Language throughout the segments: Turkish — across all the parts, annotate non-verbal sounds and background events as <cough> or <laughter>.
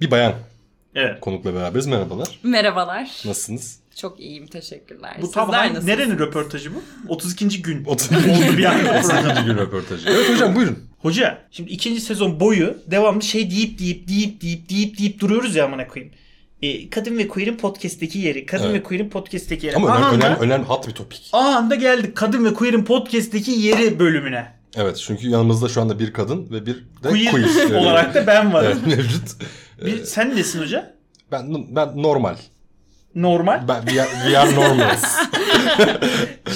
Bir bayan Evet. konukla beraberiz. Merhabalar. Merhabalar. Nasılsınız? Çok iyiyim teşekkürler. Bu Sizler tamamen nasılsınız? nerenin röportajı bu? 32. gün. 32. <laughs> Oldu bir <laughs> anda. bir gün röportajı. Evet hocam buyurun. Hoca şimdi ikinci sezon boyu devamlı şey deyip deyip deyip deyip deyip deyip duruyoruz ya amına koyayım. E, kadın ve Queer'in podcast'teki yeri. Kadın Evet. ve Queer'in podcast'teki yeri. Ama önemli, Anında- önemli, önemli hot bir topik. anında geldik Kadın ve Queer'in podcast'teki yeri bölümüne. Evet çünkü yanımızda şu anda bir kadın ve bir de Queer, <laughs> queer, e, olarak da ben varım. evet, mevcut. E, Bir, sen nesin hoca? ben ben normal. Normal. Ben we are, we <laughs> are normals.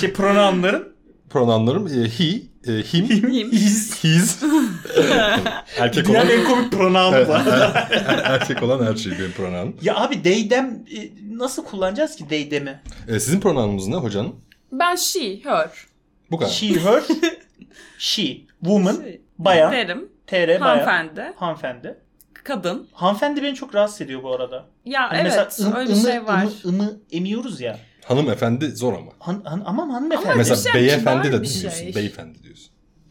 Şey pronounların. Pronounlarım e, he, e, him, Him. His. his. <laughs> erkek <laughs> olan er, Dünyanın en komik pronoun bu arada. erkek olan her şey benim pronounum. Ya abi deydem e, nasıl kullanacağız ki deydemi? E, sizin pronoununuz ne hocanın? Ben she, her. Bu kadar. She, her, <laughs> she, woman, She. bayan, Derim. tr, bayan, Hanımefendi. hanımefendi. Kadın. Hanımefendi beni çok rahatsız ediyor bu arada. Ya Hani evet ım- öyle bir ımı- şey var. ımı- ımı emiyoruz ya. Hanımefendi zor ama. Han, han, aman hanımefendi. Ama- Mesela Güzel, beyefendi kibar de bir demiyorsun. şey. Beyefendi diyorsun.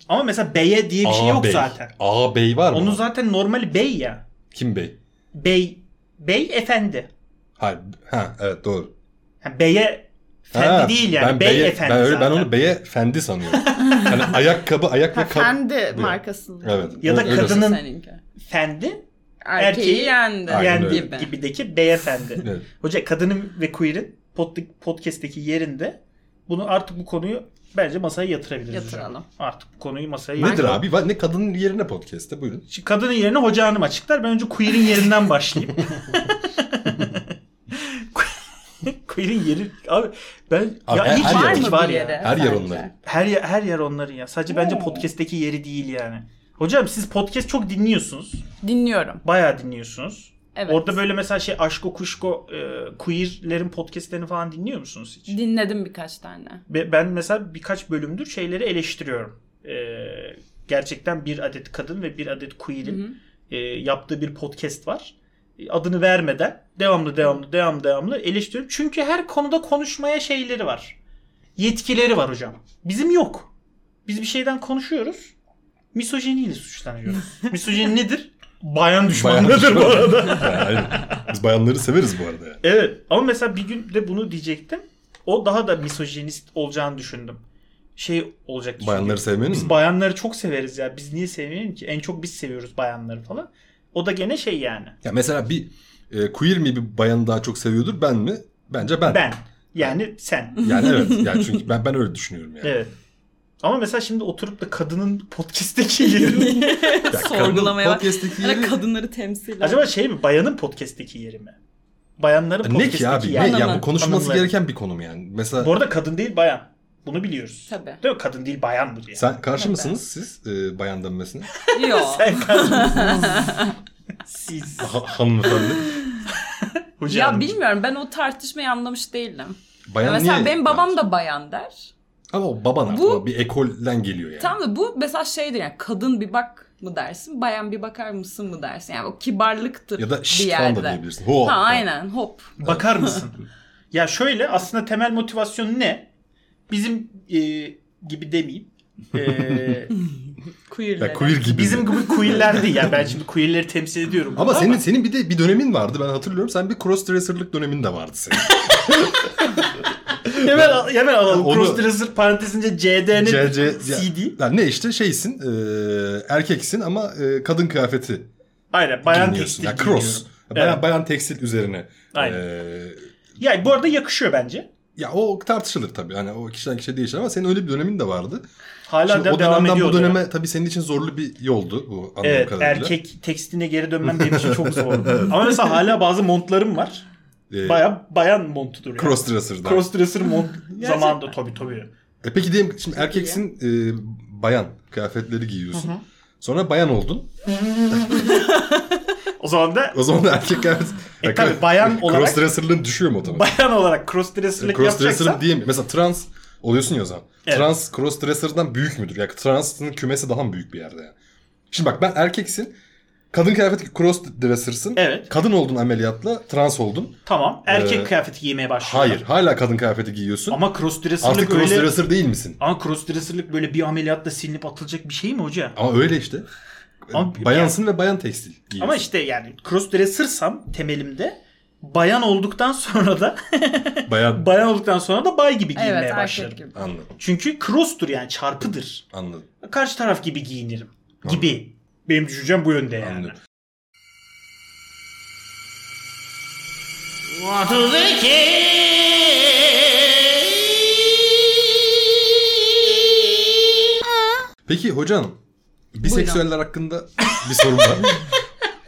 Ama mesela beye diye bir şey yok Ağabey. zaten. Ağabey var mı? Onun zaten normali bey ya. Kim bey? Bey, bey efendi. Hayır. Ha evet doğru. Ha, beye efendi Ha, değil yani. Ben bey beye- efendi ben, öyle, ben zaten. onu beye fendi <laughs> sanıyorum. hani ayakkabı ayak ve kap. Fendi markasının. Evet. Ya da öyle kadının- sanıyorum. şey. Seninki. Fendi Erkeği Erkeği- yendi. Aynen yani öyle. gibi. gibideki beyefendi. <laughs> Evet. Hoca kadının ve queer'in pod- podcast'teki yerinde bunu artık bu konuyu bence masaya yatırabiliriz. hocam. Yatıralım. Artık bu konuyu masaya Nedir yatıralım. abi? Va- Ne kadının yerine podcast'te buyurun. Şimdi kadının yerine hoca hanım açıklar. Ben önce queer'in yerinden <laughs> başlayayım. <laughs> queer'in yeri abi ben Abi ya her- hiç her var yer- mı var bir ya. yere Her yer sence? onların. Her yer, her yer onların ya. Sadece bence podcast'teki yeri değil yani. Hocam siz podcast çok dinliyorsunuz. Dinliyorum. Bayağı dinliyorsunuz. Evet. Orada böyle mesela şey Aşko Kuşko e, queer'lerin podcast'lerini falan dinliyor musunuz hiç? Dinledim birkaç tane. Ve ben mesela birkaç bölümdür şeyleri eleştiriyorum. E, gerçekten bir adet kadın ve bir adet Hı hı. queer'in e, yaptığı bir podcast var. E, Adını vermeden devamlı devamlı devamlı devamlı eleştiriyorum. Çünkü her konuda konuşmaya şeyleri var. Yetkileri var hocam. Bizim yok. Biz bir şeyden konuşuyoruz. Misojeniyle <laughs> suçlanıyoruz. Misojeni nedir? Bayan düşmanlığıdır bu düşmanı. arada. <laughs> Yani, aynen. Biz bayanları severiz bu arada yani. Evet ama mesela bir gün de bunu diyecektim. O daha da misojenist olacağını düşündüm. Şey olacak düşündüm. Bayanları sevmeniz Biz mi? bayanları çok severiz ya. Biz niye sevmeyelim ki? En çok biz seviyoruz bayanları falan. O da gene şey yani. Ya mesela bir e, queer mi bir bayanı daha çok seviyordur ben mi? Bence ben. Ben. Yani <laughs> sen. Yani <laughs> evet. Yani çünkü ben ben öyle düşünüyorum yani. Evet. Ama mesela şimdi oturup da kadının podcast'teki <laughs> <laughs> yeri. <laughs> Sorgulamaya bak. podcast'teki Yani yeri- kadınları temsil eden. Acaba şey mi? Bayanın podcast'teki yeri mi? Bayanların E, ne podcast'teki ki abi? yeri. Ne? Ya Hanımın. bu konuşulması Hanımların. gereken bir konum yani. Mesela Bu arada kadın değil bayan. Bunu biliyoruz. Tabii. Değil mi? Kadın değil bayan bu diye. sen karşı Ben- mısınız siz e, bayan denmesine? şey Yok. Sen kadın. Siz. Ha- hanımefendi. Hocam. Ya bilmiyorum ben o tartışmayı anlamış değilim. Bayan mesela niye? benim babam da bayan der. Ama o baban artık. Bu- o bir ekolden geliyor yani. Tamam da bu mesela şeydir yani kadın bir bak mı dersin, bayan bir bakar mısın mı dersin. Yani o kibarlıktır Ya da bir şşt falan da yerde. diyebilirsin. Ho, ha falan. aynen hop. Bakar mısın? <laughs> ya şöyle aslında temel motivasyon ne? Bizim e, gibi demeyeyim. E, <laughs> Queerlere. Ya queer gibi. bizim gibi queerler değil ya. Ben şimdi queerleri temsil ediyorum. ama burada senin senin bir de bir dönemin vardı ben hatırlıyorum. Sen bir crossdresser'lık dönemin de vardı <laughs> senin. hemen, al- hemen alalım. Onu- Crossdresser parantezince CD'nin CC CD. Ya, ne işte şeysin, e, erkeksin ama e, kadın kıyafeti Aynen bayan giyiniyorsun. tekstil Ya cross. giyiniyorum. Bayan, Evet. bayan tekstil üzerine. Aynen. E, Ya bu arada yakışıyor bence. ya o tartışılır tabii. Hani o kişiden kişiye değişir ama senin öyle bir dönemin de vardı. Hala Şimdi da o devam dönemden ediyor. bu o dönem. döneme tabii senin için zorlu bir yoldu bu anladığım Evet kadarıyla. erkek tekstine geri dönmem benim için çok <laughs> zor. Ama mesela hala bazı montlarım var. E, Baya bayan montudur. Yani. crossdresser'dan. Crossdresser <laughs> mont zamanında tabii tabii. E peki diyelim şimdi erkeksin e, bayan kıyafetleri giyiyorsun. Sonra bayan oldun. O zaman da O zaman da erkek kıyafet... E tabii <laughs> bayan olarak- Crossdresser'lığın düşüyor mu otomatik? bayan olarak crossdresserlik Crossdresser yapacaksan diyeyim. Mesela trans oluyorsun ya o zaman. Evet. Trans crossdresser'dan büyük müdür? Yani transın kümesi daha mı büyük bir yerde yani? Şimdi bak ben erkeksin. Kadın kıyafeti crossdresser'sın. Evet. Kadın oldun ameliyatla trans oldun. tamam erkek Ee, kıyafeti giymeye başlıyor. Hayır hala kadın kıyafeti giyiyorsun. Ama crossdresserlik Artık öyle crossdresser değil misin? ama crossdresserlik böyle bir ameliyatla silinip atılacak bir şey mi hoca? Ama öyle işte. Ama- Bayansın ve bayan tekstil giyiyorsun. Ama işte yani crossdressersam temelimde bayan olduktan sonra da <laughs> Bayan... bayan olduktan sonra da bay gibi giyinmeye Evet erkek başlarım. gibi. Anladım. Çünkü cross'tur yani çarpıdır. Anladım. Karşı taraf gibi giyinirim. Anladım. Gibi. Benim düşüncem bu yönde yani. Anladım. Peki hocam biseksüeller hakkında bir <laughs> sorum var.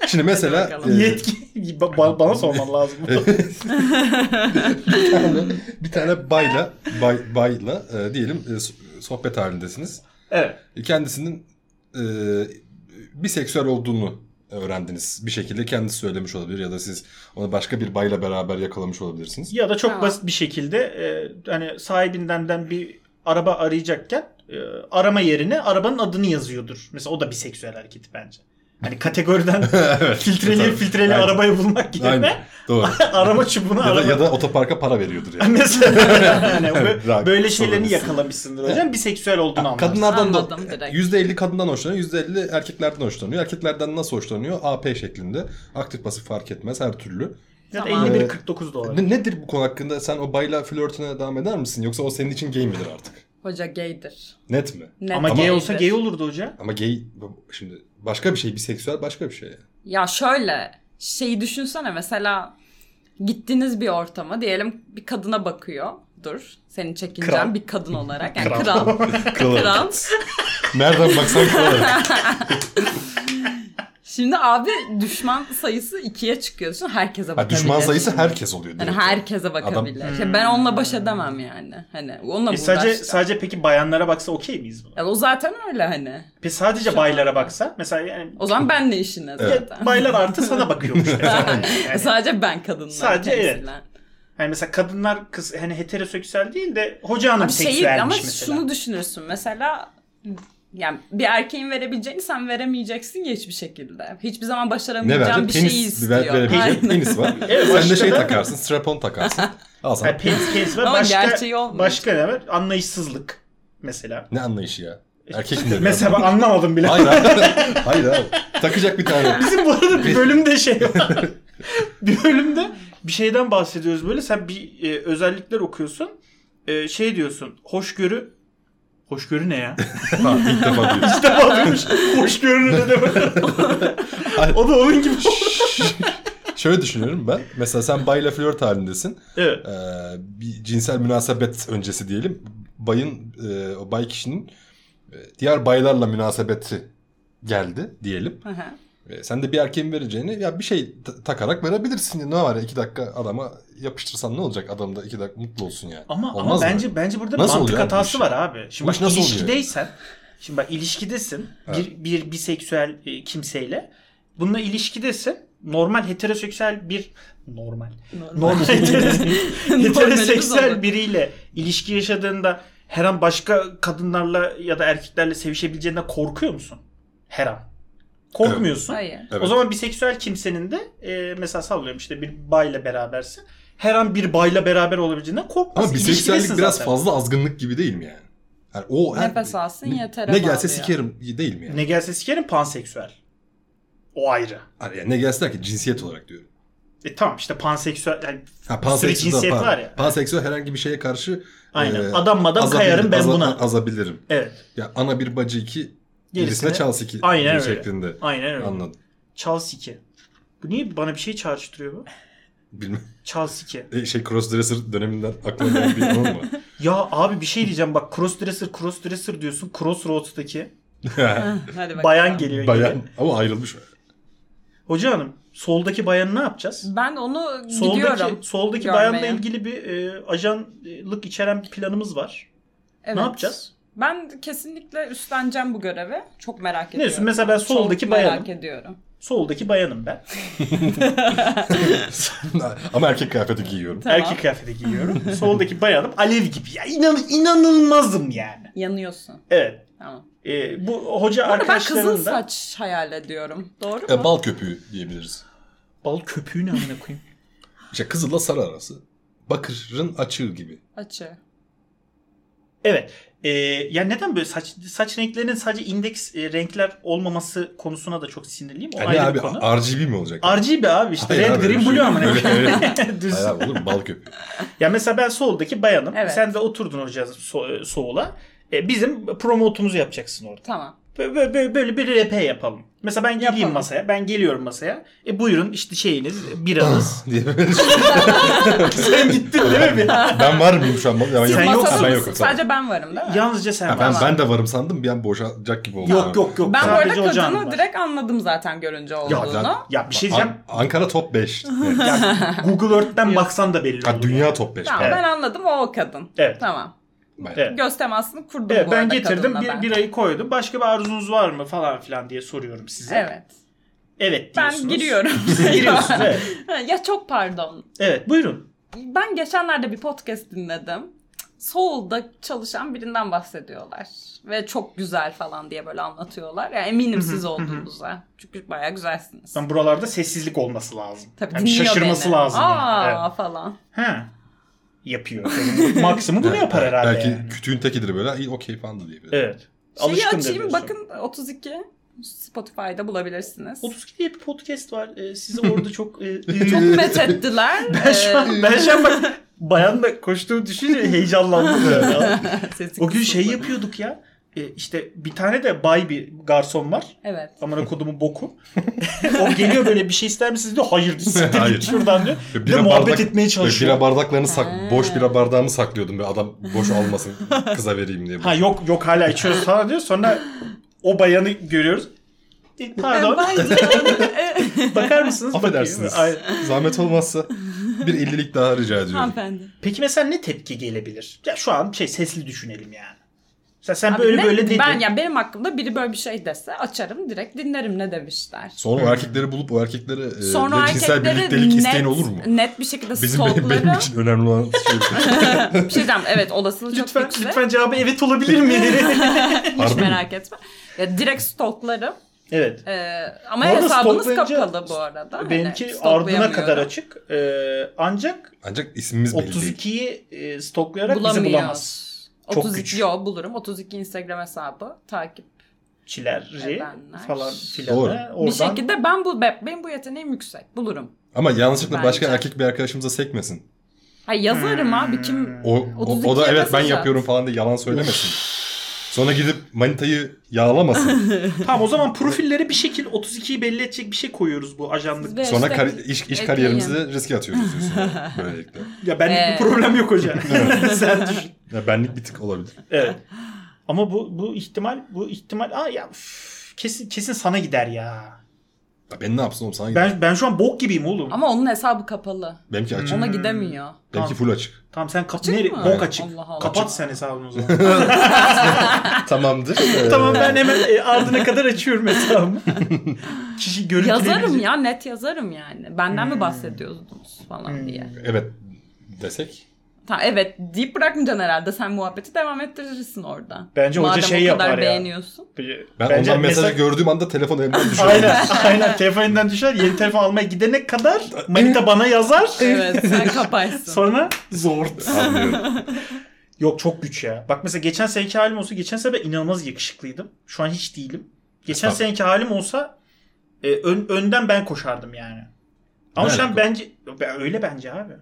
Şimdi mesela bakalım. e, Yetki <laughs> Ba- bana sorman <laughs> lazım. bir tane bir tane bayla bay, bayla e, diyelim e, so- sohbet halindesiniz. evet. E, Kendisinin e, biseksüel olduğunu öğrendiniz. Bir şekilde kendisi söylemiş olabilir ya da siz onu başka bir bayla beraber yakalamış olabilirsiniz. Ya da çok Tamam. basit bir şekilde e, hani sahibindenden bir araba arayacakken e, arama yerine arabanın adını yazıyordur. Mesela o da bir seksüel hareketi bence. <laughs> Hani kategoriden evet. filtreli Tabii. filtreli Aynen. arabayı bulmak Aynen. yerine Doğru. <laughs> arama çubuğuna ya, da, araba ya da otoparka para veriyordur <laughs> yani. Mesela yani bö- Rahat, böyle şeylerini sorun yok. yakalamışsındır hocam. Biseksüel olduğunu anlarsın. Kadınlardan da Anladım direkt. %50 kadından hoşlanıyor, %50 erkeklerden hoşlanıyor. Erkeklerden nasıl hoşlanıyor? AP şeklinde. Aktif pasif fark etmez her türlü. Zaten Tamam. 51 49 da olabilir. Ne- nedir bu konu hakkında? Sen o bayla flörtüne devam eder misin? Yoksa o senin için gay midir artık? Hoca gaydir. Net mi? Net Ama gay gaydir. olsa gay olurdu hoca. Ama gay şimdi başka bir şey, biseksüel başka bir şey. <laughs> Ya şöyle şeyi düşünsene mesela gittiğiniz bir ortama diyelim bir kadına bakıyordur. Senin çekincen Kral. bir kadın olarak. Yani Kral. <laughs> kral. Kral. kral. Nereden baksan kral. <laughs> Şimdi abi düşman sayısı ikiye çıkıyor. Düşün, herkese Ha, bakabilir. düşman sayısı herkes oluyor. Yani direkt. herkese bakabilir. Ya ben onunla baş edemem yani. Hani onunla Hmm. E e sadece sadece peki bayanlara baksa okey miyiz buna? o zaten öyle hani. Peki sadece baylara baksa mesela yani O zaman ben ne işine ya <laughs> zaten. baylar artı sana <laughs> bakıyormuş mesela. Yani, yani, Sadece ben kadınlar Sadece, evet. temsilen. hani mesela kadınlar kız hani heteroseksüel değil de hoca hanım Abi şeyi ama seksüelmiş mesela. şunu düşünürsün mesela yani bir erkeğin verebileceğini sen veremeyeceksin ya hiçbir şekilde. Hiçbir zaman ne başaramayacağın verecek? bir Penis şeyi bir istiyor. ver- verebilecek Aynen. penis var. Sen de şey takarsın, strapon <laughs> takarsın. Al sana. Yani penis penis var. Ama gerçeği başka, olmuyor. başka ne var? Anlayışsızlık mesela. Ne anlayışı ya? <laughs> Erkek mi? Mesela <laughs> ben anlamadım bile. Hayır abi. Hayır abi. Takacak bir <laughs> tane. Bizim bu arada bir bölümde şey var. <laughs> bir bölümde bir şeyden bahsediyoruz böyle. Sen bir e, özellikler okuyorsun. E, şey diyorsun. Hoşgörü. Hoşgörü ne ya? <laughs> Ha, İlk defa duyuyorum. İşte bakmış. <laughs> Hoşgörü ne demek? Hayır. <laughs> o da onun gibi. Şöyle düşünüyorum ben. Mesela sen bayla flört halindesin. evet. Ee, bir cinsel münasebet öncesi diyelim. Bayın, e, o bay kişinin e, diğer baylarla münasebeti geldi diyelim. Hı hı. E, sen de bir erkeğin vereceğini ya bir şey ta- takarak verebilirsin. Ne var ya iki dakika adama yapıştırsan ne olacak? Adam da iki dakika mutlu olsun yani. Ama, ama Olmaz mı? bence bence burada Nasıl mantık oluyor abi bu hatası iş? var abi. Şimdi Bu iş bak nasıl oluyor? ilişkideysen, şimdi bak ilişkidesin bir bir biseksüel e, kimseyle. Bununla ilişkidesin. Normal heteroseksüel bir normal. <laughs> <laughs> Normal heterose- heteroseksüel Normalimiz biriyle ilişki yaşadığında her an başka kadınlarla ya da erkeklerle sevişebileceğinden korkuyor musun? Her an. Korkmuyorsun. Hayır. Evet. O zaman biseksüel kimsenin de e, mesela sallıyorum işte bir bayla berabersin. Her an bir bayla beraber olabileceğinden korkmaz. Ama biseksüellik İlişkidesin biraz zaten. fazla azgınlık gibi değil mi yani? Yani o her- Nefes alsın yeter Ne ama gelse abi ya. sikerim değil mi yani? Ne gelse sikerim panseksüel. O ayrı. Hani yani ne gelse der ki cinsiyet olarak diyorum. E tamam işte panseksüel yani Ha, sürü panseksüel cinsiyet pardon. var ya. Panseksüel herhangi bir şeye karşı Aynen. e, adam madam azabilir- kayarım ben aza- buna. Azabilirim. evet. Ya ana bir bacı iki, Gerisine- gerisine çalsı iki Aynen öyle. şeklinde. Aynen öyle. Anladım. Çal siki. Bu niye bana bir şey çağrıştırıyor bu? Bilmem. <laughs> Çal siki. E, şey crossdresser döneminden aklıma gelen bir anı <laughs> mı? <laughs> Ya abi bir şey diyeceğim bak crossdresser crossdresser diyorsun crossroads'taki Hadi bakalım. bayan geliyor. Bayan geliyor. ama ayrılmış. <laughs> Hoca hanım soldaki bayanı ne yapacağız? Ben onu gidiyorum. Soldaki, soldaki görmeye. bayanla ilgili bir e, ajanlık içeren bir planımız var. Evet. Ne yapacağız? Ben kesinlikle üstleneceğim bu görevi. Çok merak ediyorum. diyorsun? Mesela ben soldaki Çok bayanım. merak ediyorum. Soldaki bayanım ben. ama erkek kıyafeti giyiyorum. Tamam. Erkek kıyafeti giyiyorum. <laughs> Soldaki bayanım alev gibi. Ya inan, inanılmazım yani. Yanıyorsun. Evet. Tamam. E, bu hoca Ama ben kızıl arkadaşlarının da saç hayal ediyorum. Doğru mu? E, bal köpüğü diyebiliriz. bal köpüğünü amına koyayım. <laughs> İşte kızılla sarı arası. Bakırın açığı gibi. Açı. Evet. Ee, yani neden böyle saç saç renklerinin sadece indeks e, renkler olmaması konusuna da çok sinirliyim. O Yani ayrı ne Hani abi bir konu. RGB mi olacak? RGB abi işte Hayır red, abi, öyle green, şey blue yok. ama Öyle- <laughs> öyle- Düz. Hayır abi olur mu? Bal köpüğü. Ya mesela ben Soul'daki bayanım. Evet. Sen de oturdun hoca so- Soul'a. E, bizim promotumuzu yapacaksın orada. Tamam. Böyle, böyle- böyle, böyle bir RP yapalım. Mesela ben geleyim Yapalım. masaya. Ben geliyorum masaya. E buyurun işte şeyiniz <laughs> biranız. <laughs> diye böyle- sen gittin değil mi? ben var mıyım şu an? Ben, Siz Sen yokum. yoksun. masada Ben mısınız? yokum. tamam. Sadece ben varım değil mi? <laughs> Yalnızca sen Ha, ben, varsın. ben de varım sandım bir an boşalacak gibi oldu. Yok yok yok. Ben bu arada Sadece kadını ocağın var. direkt anladım zaten görünce olduğunu. Ya bir şey diyeceğim. An- Ankara <laughs> top 5. <laughs> Ya Google Earth'ten baksan da belli ha, olur. dünya top 5. Tamam ben anladım o, o kadın. Evet. Tamam. Evet. Göz temasını kurdum Evet, bu ben arada getirdim kadınla bir, ben. birayı koydum. Başka bir arzunuz var mı falan filan diye soruyorum size. Evet. Evet diyorsunuz. Ben giriyorum. <laughs> Siz <laughs> giriyorsunuz evet. ya çok pardon. Evet buyurun. Ben geçenlerde bir podcast dinledim. Seoul'da çalışan birinden bahsediyorlar. Ve çok güzel falan diye böyle anlatıyorlar. Ya eminim siz olduğunuza. Çünkü bayağı güzelsiniz. Ben buralarda sessizlik olması lazım. Tabii Yani dinliyor şaşırması beni. lazım. Aa yani. Evet. falan. Ha. Yapıyor. Yani maksimum <laughs> bunu yapar herhalde. Belki yani. kütüğün tekidir böyle. İyi okey falan da diyebilir. <laughs> Evet. Şeyi Alışkın da açayım diyorsun. bakın 32 Spotify'da bulabilirsiniz. 32 diye bir podcast var. Ee, sizi orada çok... e, Çok methettiler. <laughs> ben şu an, ben şu an bak bayanla koştuğumu düşünce heyecanlandım. <laughs> Yani. Ee, O gün şey yapıyorduk ya. E, işte bir tane de bay bir garson var. Evet. Amına kodumun boku. <laughs> o geliyor böyle bir şey ister misiniz diyor. Hayır <laughs> diyor. Siktir Hayır. git şuradan diyor. Ve Ve muhabbet etmeye çalışıyor. Bira bardaklarını Ha. sak, boş bira bardağımı saklıyordum. Ve adam boş almasın kıza vereyim <laughs> diye. Ha yok yok <laughs> hala içiyoruz falan diyor. Sonra o bayanı görüyoruz. E, Pardon <laughs> bakar mısınız? Affedersiniz. Bakıyor. Ay- Zahmet olmazsa bir ellilik daha rica ediyorum. Hanımefendi. Peki mesela ne tepki gelebilir? Ya şu an şey sesli düşünelim yani. Mesela sen Abi böyle ne- böyle dedin. Ben ya benim hakkımda biri böyle bir şey dese açarım direkt dinlerim ne demişler. Sonra o erkekleri bulup o erkeklere e, Sonra ve Ee, cinsel birliktelik erkekleri isteğin net, olur mu? net bir şekilde Bizim benim, benim stalkları. için önemli olan şey. bir şey diyeceğim evet olasılığı çok Lütfen, yüksek. lütfen cevabı evet olabilir <laughs> mi? Harbi Hiç mi? merak etme. Ya direkt stalklarım. evet. Ee, ama Bu arada hesabınız stalklayınca- kapalı bu arada. Hani Benimki ardına stalklayamıyorum. kadar açık. Ee, ancak Ancak ismimiz belli değil. 32'yi e, stoklayarak bizi Bulamıyor. bulamaz. Çok 32 güç. yo bulurum. 32 Instagram hesabı takip. Çileri Ebenler. falan filan. Doğru. Oradan Bir şekilde ben bu be- benim bu yeteneğim yüksek. Bulurum. Ama yanlışlıkla Bence. başka erkek bir arkadaşımıza sekmesin. Hayır Hmm. yazarım abi kim O, o, 32'ye o da evet ben mesaj at. yapıyorum falan diye yalan söylemesin. Sonra gidip manitayı <laughs> yağlamasın. Tamam o zaman profilleri bir şekil 32'yi belli edecek bir şey koyuyoruz bu ajanlık. Ve Sonra işte- kari- iş, iş ekleyin. kariyerimizi riske atıyoruz diyorsun. <laughs> Böylelikle. Ya benlik Ee. bir problem yok <laughs> hocam. Sen düşün. Ya benlik bir tık olabilir. Evet. Ama bu bu ihtimal bu ihtimal aa ya üf, kesin kesin sana gider ya. Ya ben ne yapsın oğlum sana gidelim. Ben ben şu an bok gibiyim oğlum. Ama onun hesabı kapalı. Benimki açık. Hmm. Ona gidemiyor. Benimki <laughs> full açık. Tamam sen kapı Açık nere- mı? bok açık. Allah Allah. Kapat Açık. sen hesabını o zaman. <laughs> Tamamdır. Ee, tamam ben hemen e, ardına kadar açıyorum <laughs> hesabımı. Kişi görüntüleyebilecek. Yazarım ya net yazarım yani. Benden Hmm. mi bahsediyordunuz falan diye. Evet desek. Ta, evet deyip bırakmayacaksın herhalde. Sen muhabbeti devam ettirirsin orada. Bence hoca Madem şey o kadar yapar ya. <laughs> beğeniyorsun. Ben Bence ondan mesajı mesaj- gördüğüm anda telefon <laughs> elimden düşüyor. Aynen, aynen. Telefon elinden düşer. Yeni telefon almaya gidene <laughs> kadar manita bana yazar. Evet sen kapaysın. Sonra zor. Anlıyorum. Yok çok güç ya. Bak mesela geçen seneki halim olsa geçen sene ben inanılmaz yakışıklıydım. Şu an hiç değilim. Geçen Estağfurullah. seneki halim olsa e, ön- önden ben koşardım yani. Ama Ne şu an alaka? bence ben- öyle bence abi.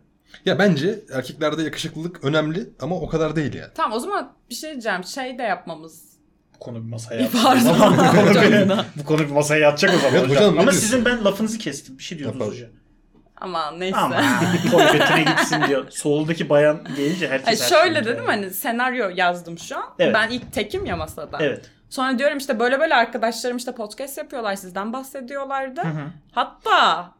Ya bence erkeklerde yakışıklılık önemli ama o kadar değil yani. Tamam o zaman bir şey diyeceğim. Şey de yapmamız. Bu konu bir masaya yatacak. Pardon. bu, <laughs> konu bir, <laughs> Hocam. bu konu bir masaya yatacak o zaman Evet, hocam. hocam, ne Ama diyorsun? sizin ben lafınızı kestim. Bir şey diyordunuz Yapalım. hocam. Aman neyse. <laughs> Ama kolbetine gitsin diyor. Soldaki bayan gelince herkes Ay her şöyle şeyi dedim diyor. hani senaryo yazdım şu an. Evet. Ben ilk tekim ya masada. Evet. Sonra diyorum işte böyle böyle arkadaşlarım işte podcast yapıyorlar sizden bahsediyorlardı. hı. Hatta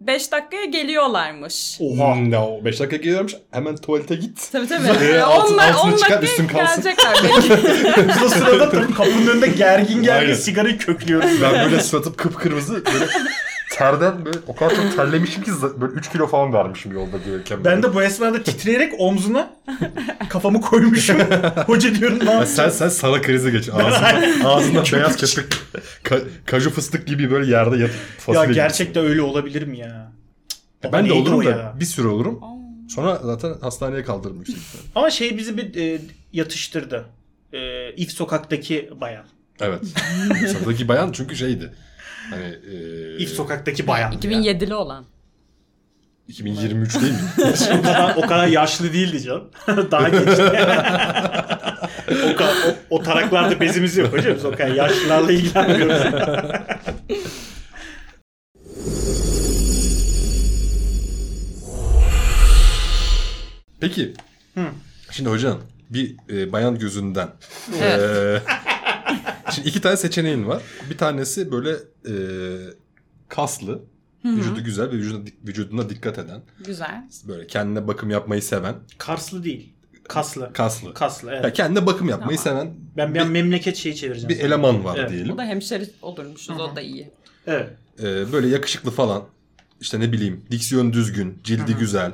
5 dakikaya geliyorlarmış. Oha. Hmm, ya o 5 dakika geliyormuş hemen tuvalete git. Tabii tabii. Ee, altın- Onlar altını 10 çıkar, dakikaya üstün kalsın. <laughs> gelecekler. Belki- Biz o sırada tabii kapının önünde gergin gergin Aynen. sigarayı köklüyoruz. Ben böyle sıvatıp kıpkırmızı böyle terden böyle o kadar çok terlemişim ki za- böyle 3 kilo falan vermişim yolda gelirken. Ben de bu esnada titreyerek omzuna kafamı <laughs> koymuşum. Hoca diyorum ne Ya yapayım? <laughs> sen sen sana krizi geç. Ağzında, ağzında beyaz köpük ka- kaju fıstık gibi böyle yerde yatıp Ya fasulye. gerçekten öyle olabilir mi ya? Ya Baba ben de neydi o olurum da ya? bir süre olurum. Sonra zaten hastaneye kaldırır yüksek ihtimalle. Ama şey bizi bir e, yatıştırdı. E, İf sokaktaki bayan. Evet. Sıradaki bayan çünkü şeydi. Hani e, İf sokaktaki bayan. 2007'li olan. 2023 değil mi? o, kadar, o kadar yaşlı değildi canım. <laughs> Daha gençti. o, ka- o, o taraklarda bezimiz yok hocam. Biz o kadar yaşlılarla <laughs> ilgilenmiyoruz. Peki. Şimdi hocam bir e, bayan gözünden. e, şimdi iki tane seçeneğin var. Bir tanesi böyle e, kaslı, vücudu güzel ve vücuduna, vücuduna dikkat eden. Güzel. Böyle kendine bakım yapmayı seven. Karslı değil. Kaslı. Kaslı. Kaslı evet. Ya kendine bakım yapmayı seven Ben, ben memleket şeyi çevireceğim. bir sana. eleman var Evet. diyelim. O da hemşeri olurmuşuz o da iyi. Evet. E, böyle yakışıklı falan. İşte ne bileyim diksiyon düzgün, cildi güzel.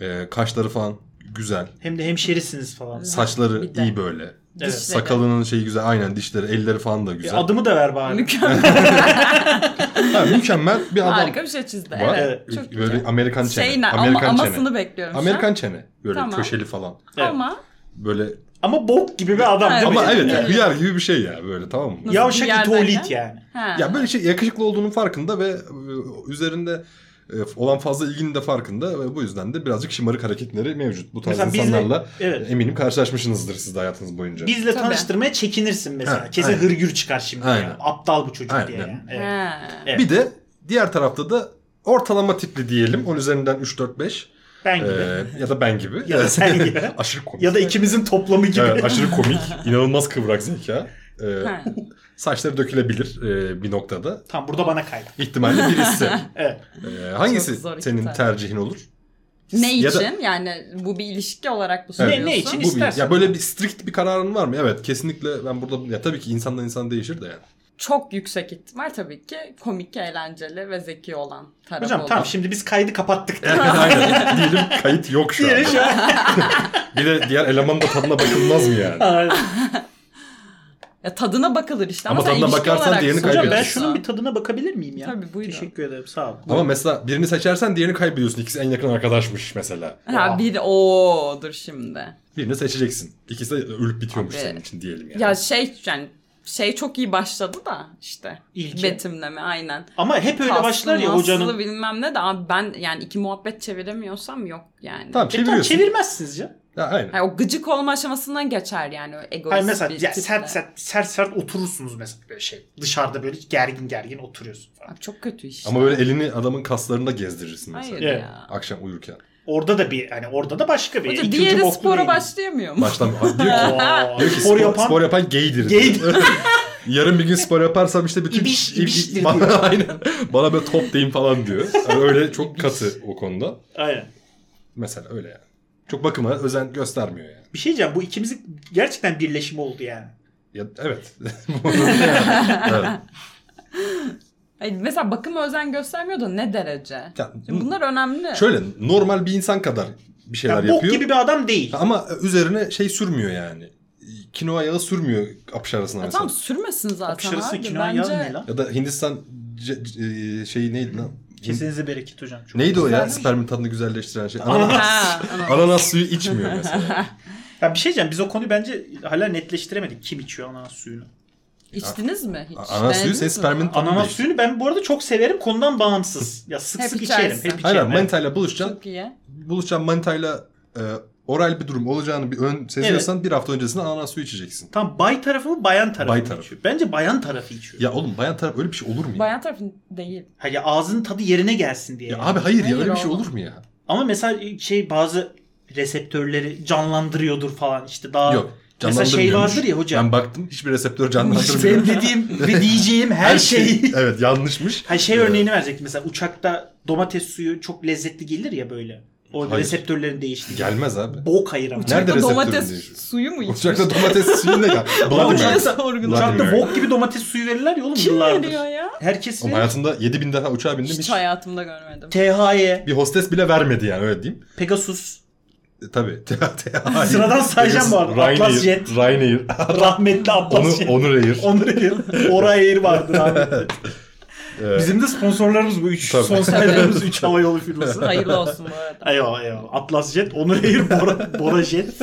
e, kaşları falan güzel. Hem de hemşerisiniz falan. Saçları Bir de. iyi böyle. Evet. Dişleri. Sakalının şeyi güzel. Aynen dişleri, elleri falan da E, güzel. adımı da ver bari. Mükemmel. Ha, mükemmel bir adam. Harika bir şey çizdi. Var. e, Evet. Çok böyle güzel. Amerikan çene. Şey ne? Ama, Amerikan çene. amasını bekliyorum şu an. Amerikan çene. Böyle Tamam. köşeli falan. Evet. Ama Böyle Ama bok gibi bir adam değil mi? ama evet Yani. ya, hıyar gibi bir şey ya böyle tamam mı? Nasıl? Yavşak Diğer itolit derken? yani. ha. Ya böyle şey yakışıklı olduğunun farkında ve e, üzerinde e, olan fazla ilginin de farkında ve bu yüzden de birazcık şımarık hareketleri mevcut. Bu tarz Mesela bizle- insanlarla evet. eminim karşılaşmışsınızdır siz de hayatınız boyunca. Bizle Tabii. tanıştırmaya çekinirsin mesela. Ha, Kesin aynen. hırgür çıkar şimdi Aynen. ya. Aptal bu çocuk Aynen. diye yani. Evet. Ha. Evet. Bir de diğer tarafta da ortalama tipli diyelim. Onun üzerinden 3 4 5 Ben gibi. Ee, ya da ben gibi. Ya da sen gibi. <laughs> aşırı komik. ya da ikimizin toplamı gibi. Evet, aşırı komik, inanılmaz kıvrak zeka. Ee, Ha. saçları dökülebilir e, bir noktada. <laughs> Tamam burada bana kaydı. <laughs> İhtimalle birisi. Evet. Ee, hangisi Çok zor iki senin tane. tercihin olur? Ne Ya da- için? Yani bu bir ilişki olarak bu Evet. söylüyorsun. Ne için? Bu bir, İstersen. ya böyle bir strict bir kararın var mı? Evet, kesinlikle ben burada ya tabii ki insandan insan değişir de <laughs> yani. Çok yüksek ihtimal tabii ki komik, eğlenceli ve zeki olan taraf Hocam olur. tamam şimdi biz kaydı kapattık. Aynen. Diyelim kayıt yok şu Diyelim <laughs> şu an. Bir de diğer elemanın da tadına bakılmaz mı yani? Ya tadına bakılır işte ama, Ama sen tadına ilişki bakarsan olarak diğerini söylüyorsun. Hocam ben Kaybediyorsun. şunun bir tadına bakabilir miyim ya? Tabii, buyurun. Teşekkür ederim sağ ol. Ama mesela birini seçersen diğerini kaybediyorsun. İkisi en yakın arkadaşmış mesela. Ha bir o dur şimdi. Birini seçeceksin. İkisi de ölüp bitiyormuş Abi. senin için diyelim yani. Ya şey yani şey çok iyi başladı da işte. İlki. Betimleme aynen. Ama hep öyle Kaslı, başlar ya maslı hocanın. E, bilmem ne de abi ben yani iki muhabbet çeviremiyorsam yok yani. Tamam E tamam çeviriyorsun. çevirmezsiniz ya. Ya, aynen. Yani o gıcık olma aşamasından geçer yani o egoist Hayır mesela bir ya tiple. sert sert sert sert oturursunuz mesela böyle şey. Dışarıda böyle gergin gergin oturuyorsun falan. Abi çok kötü iş. Ama böyle elini adamın kaslarında gezdirirsin mesela. Hayır Evet. ya. Akşam uyurken. Orada da bir hani orada da başka bir. Hoca ikinci diğeri boklu spora değil. başlayamıyor mu? Baştan diyor <laughs> ki, Oo, <laughs> diyor ki spor yapan spor yapan gaydir. Gaydir. <laughs> Yarın bir gün spor yaparsam işte bütün... İbiş, ibiştir bana, diyor. <laughs> aynen. Bana böyle top deyin falan diyor. Yani öyle çok katı o konuda. Aynen. Mesela öyle yani. Çok bakıma özen göstermiyor yani. Bir şey diyeceğim bu ikimizin gerçekten birleşimi oldu yani. Ya, evet. <laughs> Bu arada yani, evet. Ay, mesela bakıma özen göstermiyor da ne derece? Ya, Şimdi bunlar önemli. Şöyle normal bir insan kadar bir Ya şeyler bok yapıyor. gibi bir adam değil. Ama üzerine şey sürmüyor yani. Kinoa yağı sürmüyor apış arasına Ya mesela. tamam sürmesin zaten Akşarısı abi. kinoa yağı ne lan? Ya da Hindistan c- c- e, şeyi neydi lan? Kesinize bereket hocam. Çok Neydi o ya? güzelmiş. Spermin tadını güzelleştiren şey. <laughs> Ananas. Ananas, Ha, ama- ananas suyu içmiyor <laughs> mesela. Ya bir şey diyeceğim biz o konuyu bence hala netleştiremedik. Kim içiyor ananas suyunu? İçtiniz mi hiç? Ananas suyu Denediniz senin mi? spermin tadını Ananas değiştiriyor. suyunu ben bu arada çok severim konudan bağımsız. Ya sık Hep sık içersin. içerim. Hep içerim. Aynen evet. manitayla buluşacaksın. Çok iyi. Buluşacaksın manitayla e, oral bir durum olacağını bir ön seziyorsan bir hafta öncesinde ananas suyu içeceksin. Tam bay tarafı mı bayan tarafı Bay mı tarafı. içiyor? Bence bayan tarafı içiyor. Ya. Ya oğlum bayan taraf öyle bir şey olur mu ya? Bayan tarafın değil. Hani ağzının tadı yerine gelsin diye. Ya yani. abi hayır ya Hayır öyle bir şey oğlum. olur mu ya? Ama mesela şey bazı reseptörleri canlandırıyordur falan işte daha. Yok. Mesela şey canlandırmıyormuş. vardır ya hocam. Ben baktım hiçir reseptör İşte canlandırmıyor. <laughs> şey benim dediğim ve diyeceğim her, şeyi. evet yanlışmış. Ha şey Evet. örneğini verecek mesela uçakta domates suyu çok lezzetli gelir ya böyle. O Hayır. reseptörlerin değişti. Gelmez abi. Bok hayır ama. Nerede reseptörün değişiyor? Domates suyu mu içmiş? Uçakta domates suyu <laughs> ne ya? Ya Bloody Mary. uçakta, Bloody uçakta Mary. bok gibi domates suyu verirler ya oğlum Kim yıllardır. veriyor ya? Herkes Oğlum verir. hayatımda 7000 defa uçağa bindim. Hiç Hiç hayatımda görmedim. THY, bir hostes bile vermedi yani öyle diyeyim. E, <laughs> Pegasus, E, tabii. <laughs> Sıradan sayacağım bu arada. Ryanair, Atlas Jet. Ryanair. rahmetli <laughs> Atlas Onu, Jet. Onur Air. <laughs> Onur Air. Oray Air vardı rahmetli. Ee, Bizim de sponsorlarımız bu üç Tabii. son sayılarımız 3 havayolu firması. Hayırlı olsun bu <laughs> arada. Eyvallah eyvallah. Atlas Jet, Onur Air, Bora, Bora <laughs> Jet.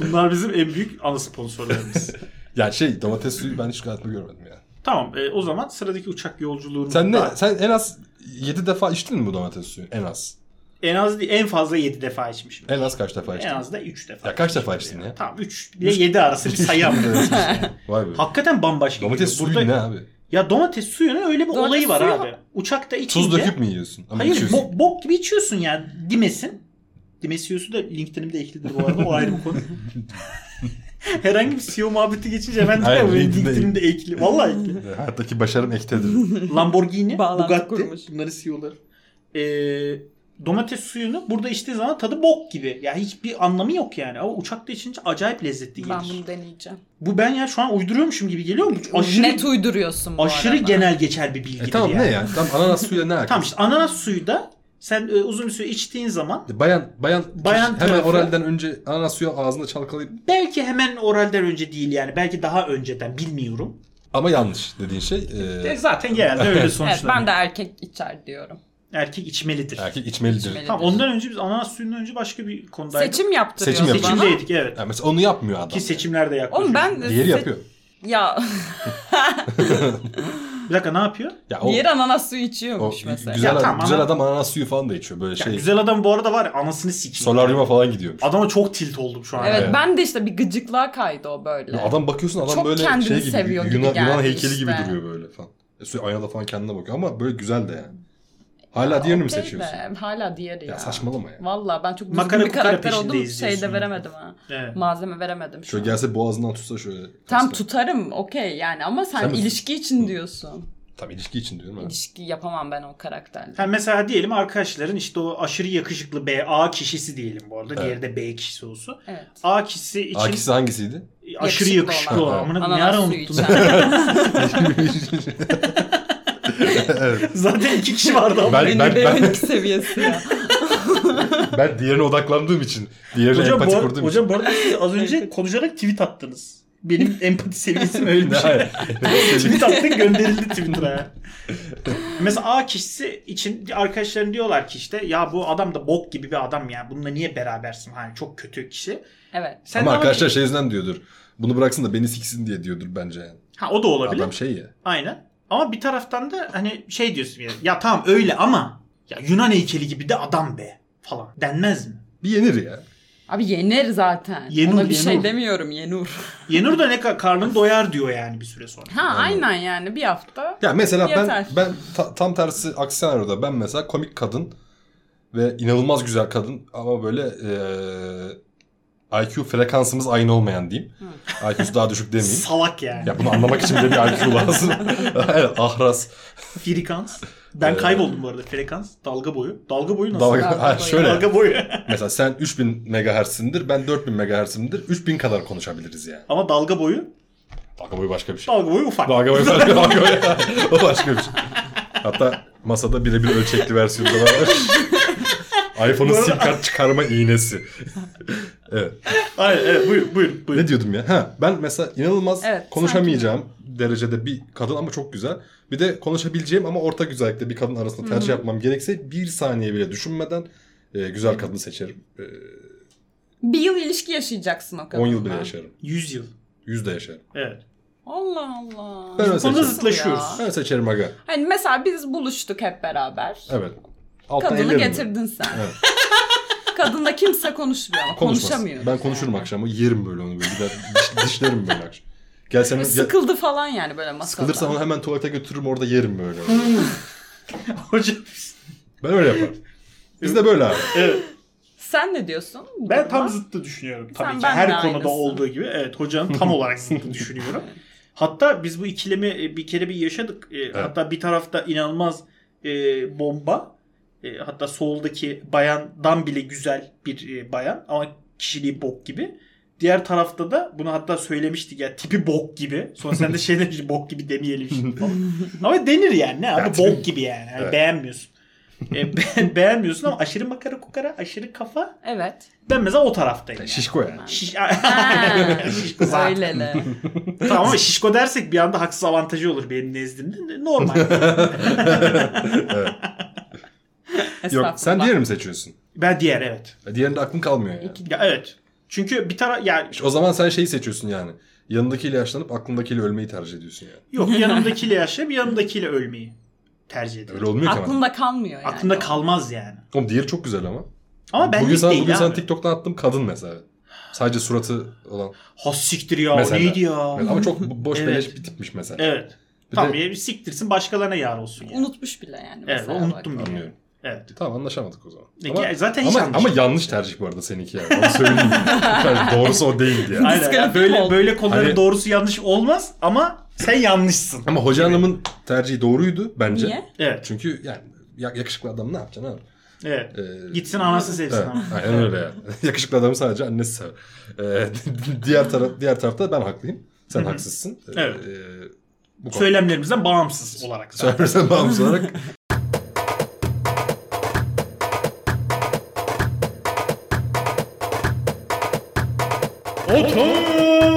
Bunlar bizim en büyük ana sponsorlarımız. Ya şey domates suyu ben hiç hayatımda görmedim ya. tamam e, o zaman sıradaki uçak yolculuğunu Sen da- ne? Sen en az 7 defa içtin mi bu domates suyu? En az. en az değil, en fazla 7 defa içmişim. En az kaç defa içtin? En az da 3 defa. Ya kaç defa içmişimdir içtin ya? Tamam 3 ile 7 arası bir sayı <laughs> ama. <laughs> Yani. Vay be. Hakikaten bambaşka. Domates geliyor. suyu ne abi? Ya domates suyunun öyle bir Domates olayı var suyu- abi. Uçakta içince. Tuz döküp mü yiyorsun? Ama Hayır içiyorsun. bo- bok gibi içiyorsun ya. Dimesin. Dimesiyosu da LinkedIn'imde eklidir bu arada. O ayrı <laughs> bir konu. Herhangi bir CEO muhabbeti geçince hemen Hayır, Hayır, LinkedIn'de LinkedIn'imde ekli. Vallahi <laughs> ekli. Hayattaki <laughs> başarın ektedir. Lamborghini, Bağlantı Bugatti. kurmuş. Bunların CEO'ları. Ee, domates suyunu burada içtiği zaman tadı bok gibi. Ya hiçbir anlamı yok yani. Ama uçakta içince acayip lezzetli gelir. Ben bunu deneyeceğim. Bu ben ya şu an uyduruyormuşum gibi geliyor mu? Aşırı, Net uyduruyorsun bu aşırı arada. genel geçer bir bilgidir e tamam yani. ne yani? Tam ananas suyuyla ne alakası? Tamam işte ananas suyu da sen e, uzun bir süre içtiğin zaman Bayan bayan Bayan hemen tarafı- oralden önce ananas suyu ağzında çalkalayıp belki hemen oralden önce değil yani belki daha önceden bilmiyorum. ama yanlış dediğin şey e, E, zaten genelde öyle Evet, sonuçlanıyor. ben de erkek içer diyorum. Erkek içmelidir. erkek içmelidir. İçmelidir. Tamam ondan önce biz ananas suyundan önce başka bir konudaydık. Seçim yaptırıyor Seçim yapıyor. bana. Seçimdeydik evet. Yani mesela onu yapmıyor adam. Ki seçimlerde yaklaşıyor. Oğlum ben... Diğeri se- yapıyor. Ya Bir dakika ne yapıyor? Ya o, diğeri ananas suyu o içiyormuş mesela. güzel, Ya tamam, güzel ama- adam ananas suyu falan da içiyor böyle Ya şey. güzel adam bu arada var ya anasını sikeyim. Solaryuma falan gidiyormuş. Adama çok tilt oldum şu an. Evet, Evet. ben de işte bir gıcıklığa kaydı o böyle. Ya adam bakıyorsun adam Çok böyle kendini şey gibi, seviyor gibi Yunan, geldi Yunan heykeli işte. gibi duruyor böyle falan. E, sürekli aynada falan kendine bakıyor ama böyle güzel de yani. Hala diğerini mi Okey de, seçiyorsun? Ya, Hala diğeri ya. saçmalama ya. Valla ben çok düzgün Makara bir kukara karakter oldum. peşindeyiz diyorsun Şeyde yani. veremedim ha. Evet. Malzeme veremedim. Şu Şöyle an. gelse boğazından tutsa şöyle. Tam kaslar. tutarım okey yani ama sen, Sen mi- ilişki için diyorsun. Tam ilişki için diyorum ha. İlişki yapamam ben o karakterle. Ha mesela diyelim arkadaşların işte o aşırı yakışıklı B, A kişisi diyelim bu arada. Evet. Diğeri de B kişisi olsun. Evet. A kişisi için Akisi <laughs> hangisiydi? aşırı yakışıklı olan. olan. Amına ne Ananas ara suyu unuttun? içen. evet. <laughs> Zaten iki kişi <laughs> vardı ama. <laughs> Ben- Beni ben- ben- benimki seviyesi ya. Ben diğerine odaklandığım için, diğerine Hocam, bu, empati ar- kurduğum hocam bu arada siz az önce konuşarak tweet attınız. Benim empati seviyesim öyle bir için. şey. <laughs> Hayır. tweet attın gönderildi Twitter'a. Mesela A kişisi için arkadaşların diyorlar ki işte ya bu adam da bok gibi bir adam ya. Bununla niye berabersin? Hani çok kötü kişi. <laughs> Evet. Sen Ama de arkadaşlar abi- şey yüzünden diyordur. Bunu bıraksın da beni siksin diye diyordur bence yani. Ha o da olabilir. Adam şey ya. Aynen. Ama bir taraftan da hani şey diyorsun yani. Ya tamam öyle ama ya Yunan heykeli gibi de adam be falan denmez mi? Bir yenir ya. Abi Yener zaten. Yenur, Ona bir şey Yenur. <laughs> demiyorum Yenur. Yenur da ne kadar karnın doyar diyor yani bir süre sonra. Ha aynen yani bir hafta. Ya mesela Yeter. ben ben ta- tam tersi aksi senaryoda ben mesela komik kadın ve inanılmaz güzel kadın ama böyle eee IQ frekansımız aynı olmayan diyeyim. IQ'su daha <laughs> düşük demeyeyim. Salak yani. ya bunu anlamak için de bir IQ lazım. <laughs> evet, ahras. Frekans. Ben Ee, kayboldum bu arada. Frekans, dalga boyu. Dalga boyu nasıl? Dalga, Dalga Ha, boyu. <laughs> şöyle. Dalga boyu. Mesela sen 3000 MHz'sindir, ben 4000 MHz'imdir. 3000 kadar konuşabiliriz yani. Ama dalga boyu, Dalga boyu başka bir şey. dalga boyu ufak. <laughs> Dalga boyu başka, şey. dalga boyu. <laughs> o başka bir şey. Hatta masada birebir ölçekli versiyonu da var. iPhone'un Bu arada- sim kart çıkarma iğnesi. evet. Aynen evet buyur buyur. buyur. Ne diyordum ya? Ha, ben mesela inanılmaz Evet, konuşamayacağım derecede bir kadın ama çok güzel. Bir de konuşabileceğim ama orta güzellikte bir kadın arasında tercih yapmam gerekse bir saniye bile düşünmeden e, güzel kadını seçerim. Bir yıl ilişki yaşayacaksın o E, kadar. 10 yıl bile yaşarım. 100 yıl. 100 de yaşarım. Evet. Allah Allah. Ben öyle Bu konuda seçerim. zıtlaşıyoruz. Ben seçerim aga. Hani mesela biz buluştuk hep beraber. Evet. Alttan Kadını ellerim ben. getirdin sen. Evet. <laughs> Kadınla kimse konuşmuyor ama Konuşmaz. konuşamıyor. Ben konuşurum akşamı. Yerim böyle onu böyle. Gider diş- <laughs> dişlerim böyle akşam. Gel sen gel, Sıkıldı falan yani böyle masada. sıkılırsam onu hemen tuvalete götürürüm orada yerim böyle. <laughs> Hocam. ben öyle yaparım. Biz de böyle abi. Evet. Sen ne diyorsun? Ben tam Buna? zıttı düşünüyorum. Tabii Sen ki ben de her konuda aynısın. olduğu gibi. Evet hocanın <laughs> tam olarak zıttı düşünüyorum. Hatta biz bu ikilemi e, bir kere bir yaşadık. E, Hatta bir tarafta inanılmaz e, bomba. E, hatta soldaki bayandan bile güzel bir e, bayan ama kişiliği bok gibi. Diğer tarafta da bunu hatta söylemiştik ya tipi bok gibi. Sonra sen de şey <laughs> <laughs> demiştin bok gibi demeyelim şimdi falan. Ama denir yani ne abi Ya, tipi- bok gibi yani. yani Evet. Beğenmiyorsun. E, be- <laughs> beğenmiyorsun ama aşırı makara kukara, aşırı kafa. Evet. Ben mesela o taraftayım. Yani. Şişko yani. Şiş... <laughs> Ha, Şişko zaten. Öylele. Tamam ama şişko dersek bir anda haksız avantajı olur benim nezdimde. <laughs> Normal. Yok sen Estağfurullah. diğerini mi seçiyorsun? E, ben diğer evet. Diğerinde aklın kalmıyor yani. Ya evet. Çünkü bir taraf yani O zaman sen şeyi seçiyorsun yani. Yanındakiyle yaşlanıp aklındakiyle ölmeyi tercih ediyorsun yani. yok yanımdakiyle yaşayıp yanımdakiyle ölmeyi tercih Öyle ediyorum. olmuyor ki ama. Aklında kalmıyor yani. Aklımda kalmaz yani. Oğlum diğeri çok güzel ama. Ama ben bugün sana, değil bugün abi. sana TikTok'tan attığım kadın mesela. Sadece suratı olan. Ha siktir ya Mesela. neydi ya. Evet, ama çok bo- boş Evet. beleş bir tipmiş mesela. Evet. Bir Tamam de- ya, siktirsin başkalarına yar olsun yani. Unutmuş bile yani. Evet mesela unuttum bak. bile. Anlıyorum. Evet. Tamam anlaşamadık o zaman. E, Ama, ya, zaten hiç ama, anlaşılmıyor. ama yanlış tercih bu arada seninki yani. <laughs> Onu söyleyeyim. Yani Doğrusu o değildi yani. Aynen ya, Diskalifiye böyle oldu. böyle konuların Hani- doğrusu yanlış olmaz ama sen yanlışsın. Ama hoca hanımın tercihi doğruydu bence. Niye? Evet. Çünkü yani ya- yakışıklı adam ne yapacaksın abi? Evet. Ee, Gitsin anası sevsin Evet, ama. aynen öyle yani. <laughs> Yakışıklı adamı sadece annesi sever. Ee, <laughs> diğer taraf diğer tarafta ben haklıyım. Sen Hı hı. haksızsın. Ee, Evet. e, bu konu. Söylemlerimizden bağımsız olarak. zaten. <laughs> Söylersen bağımsız olarak. Otur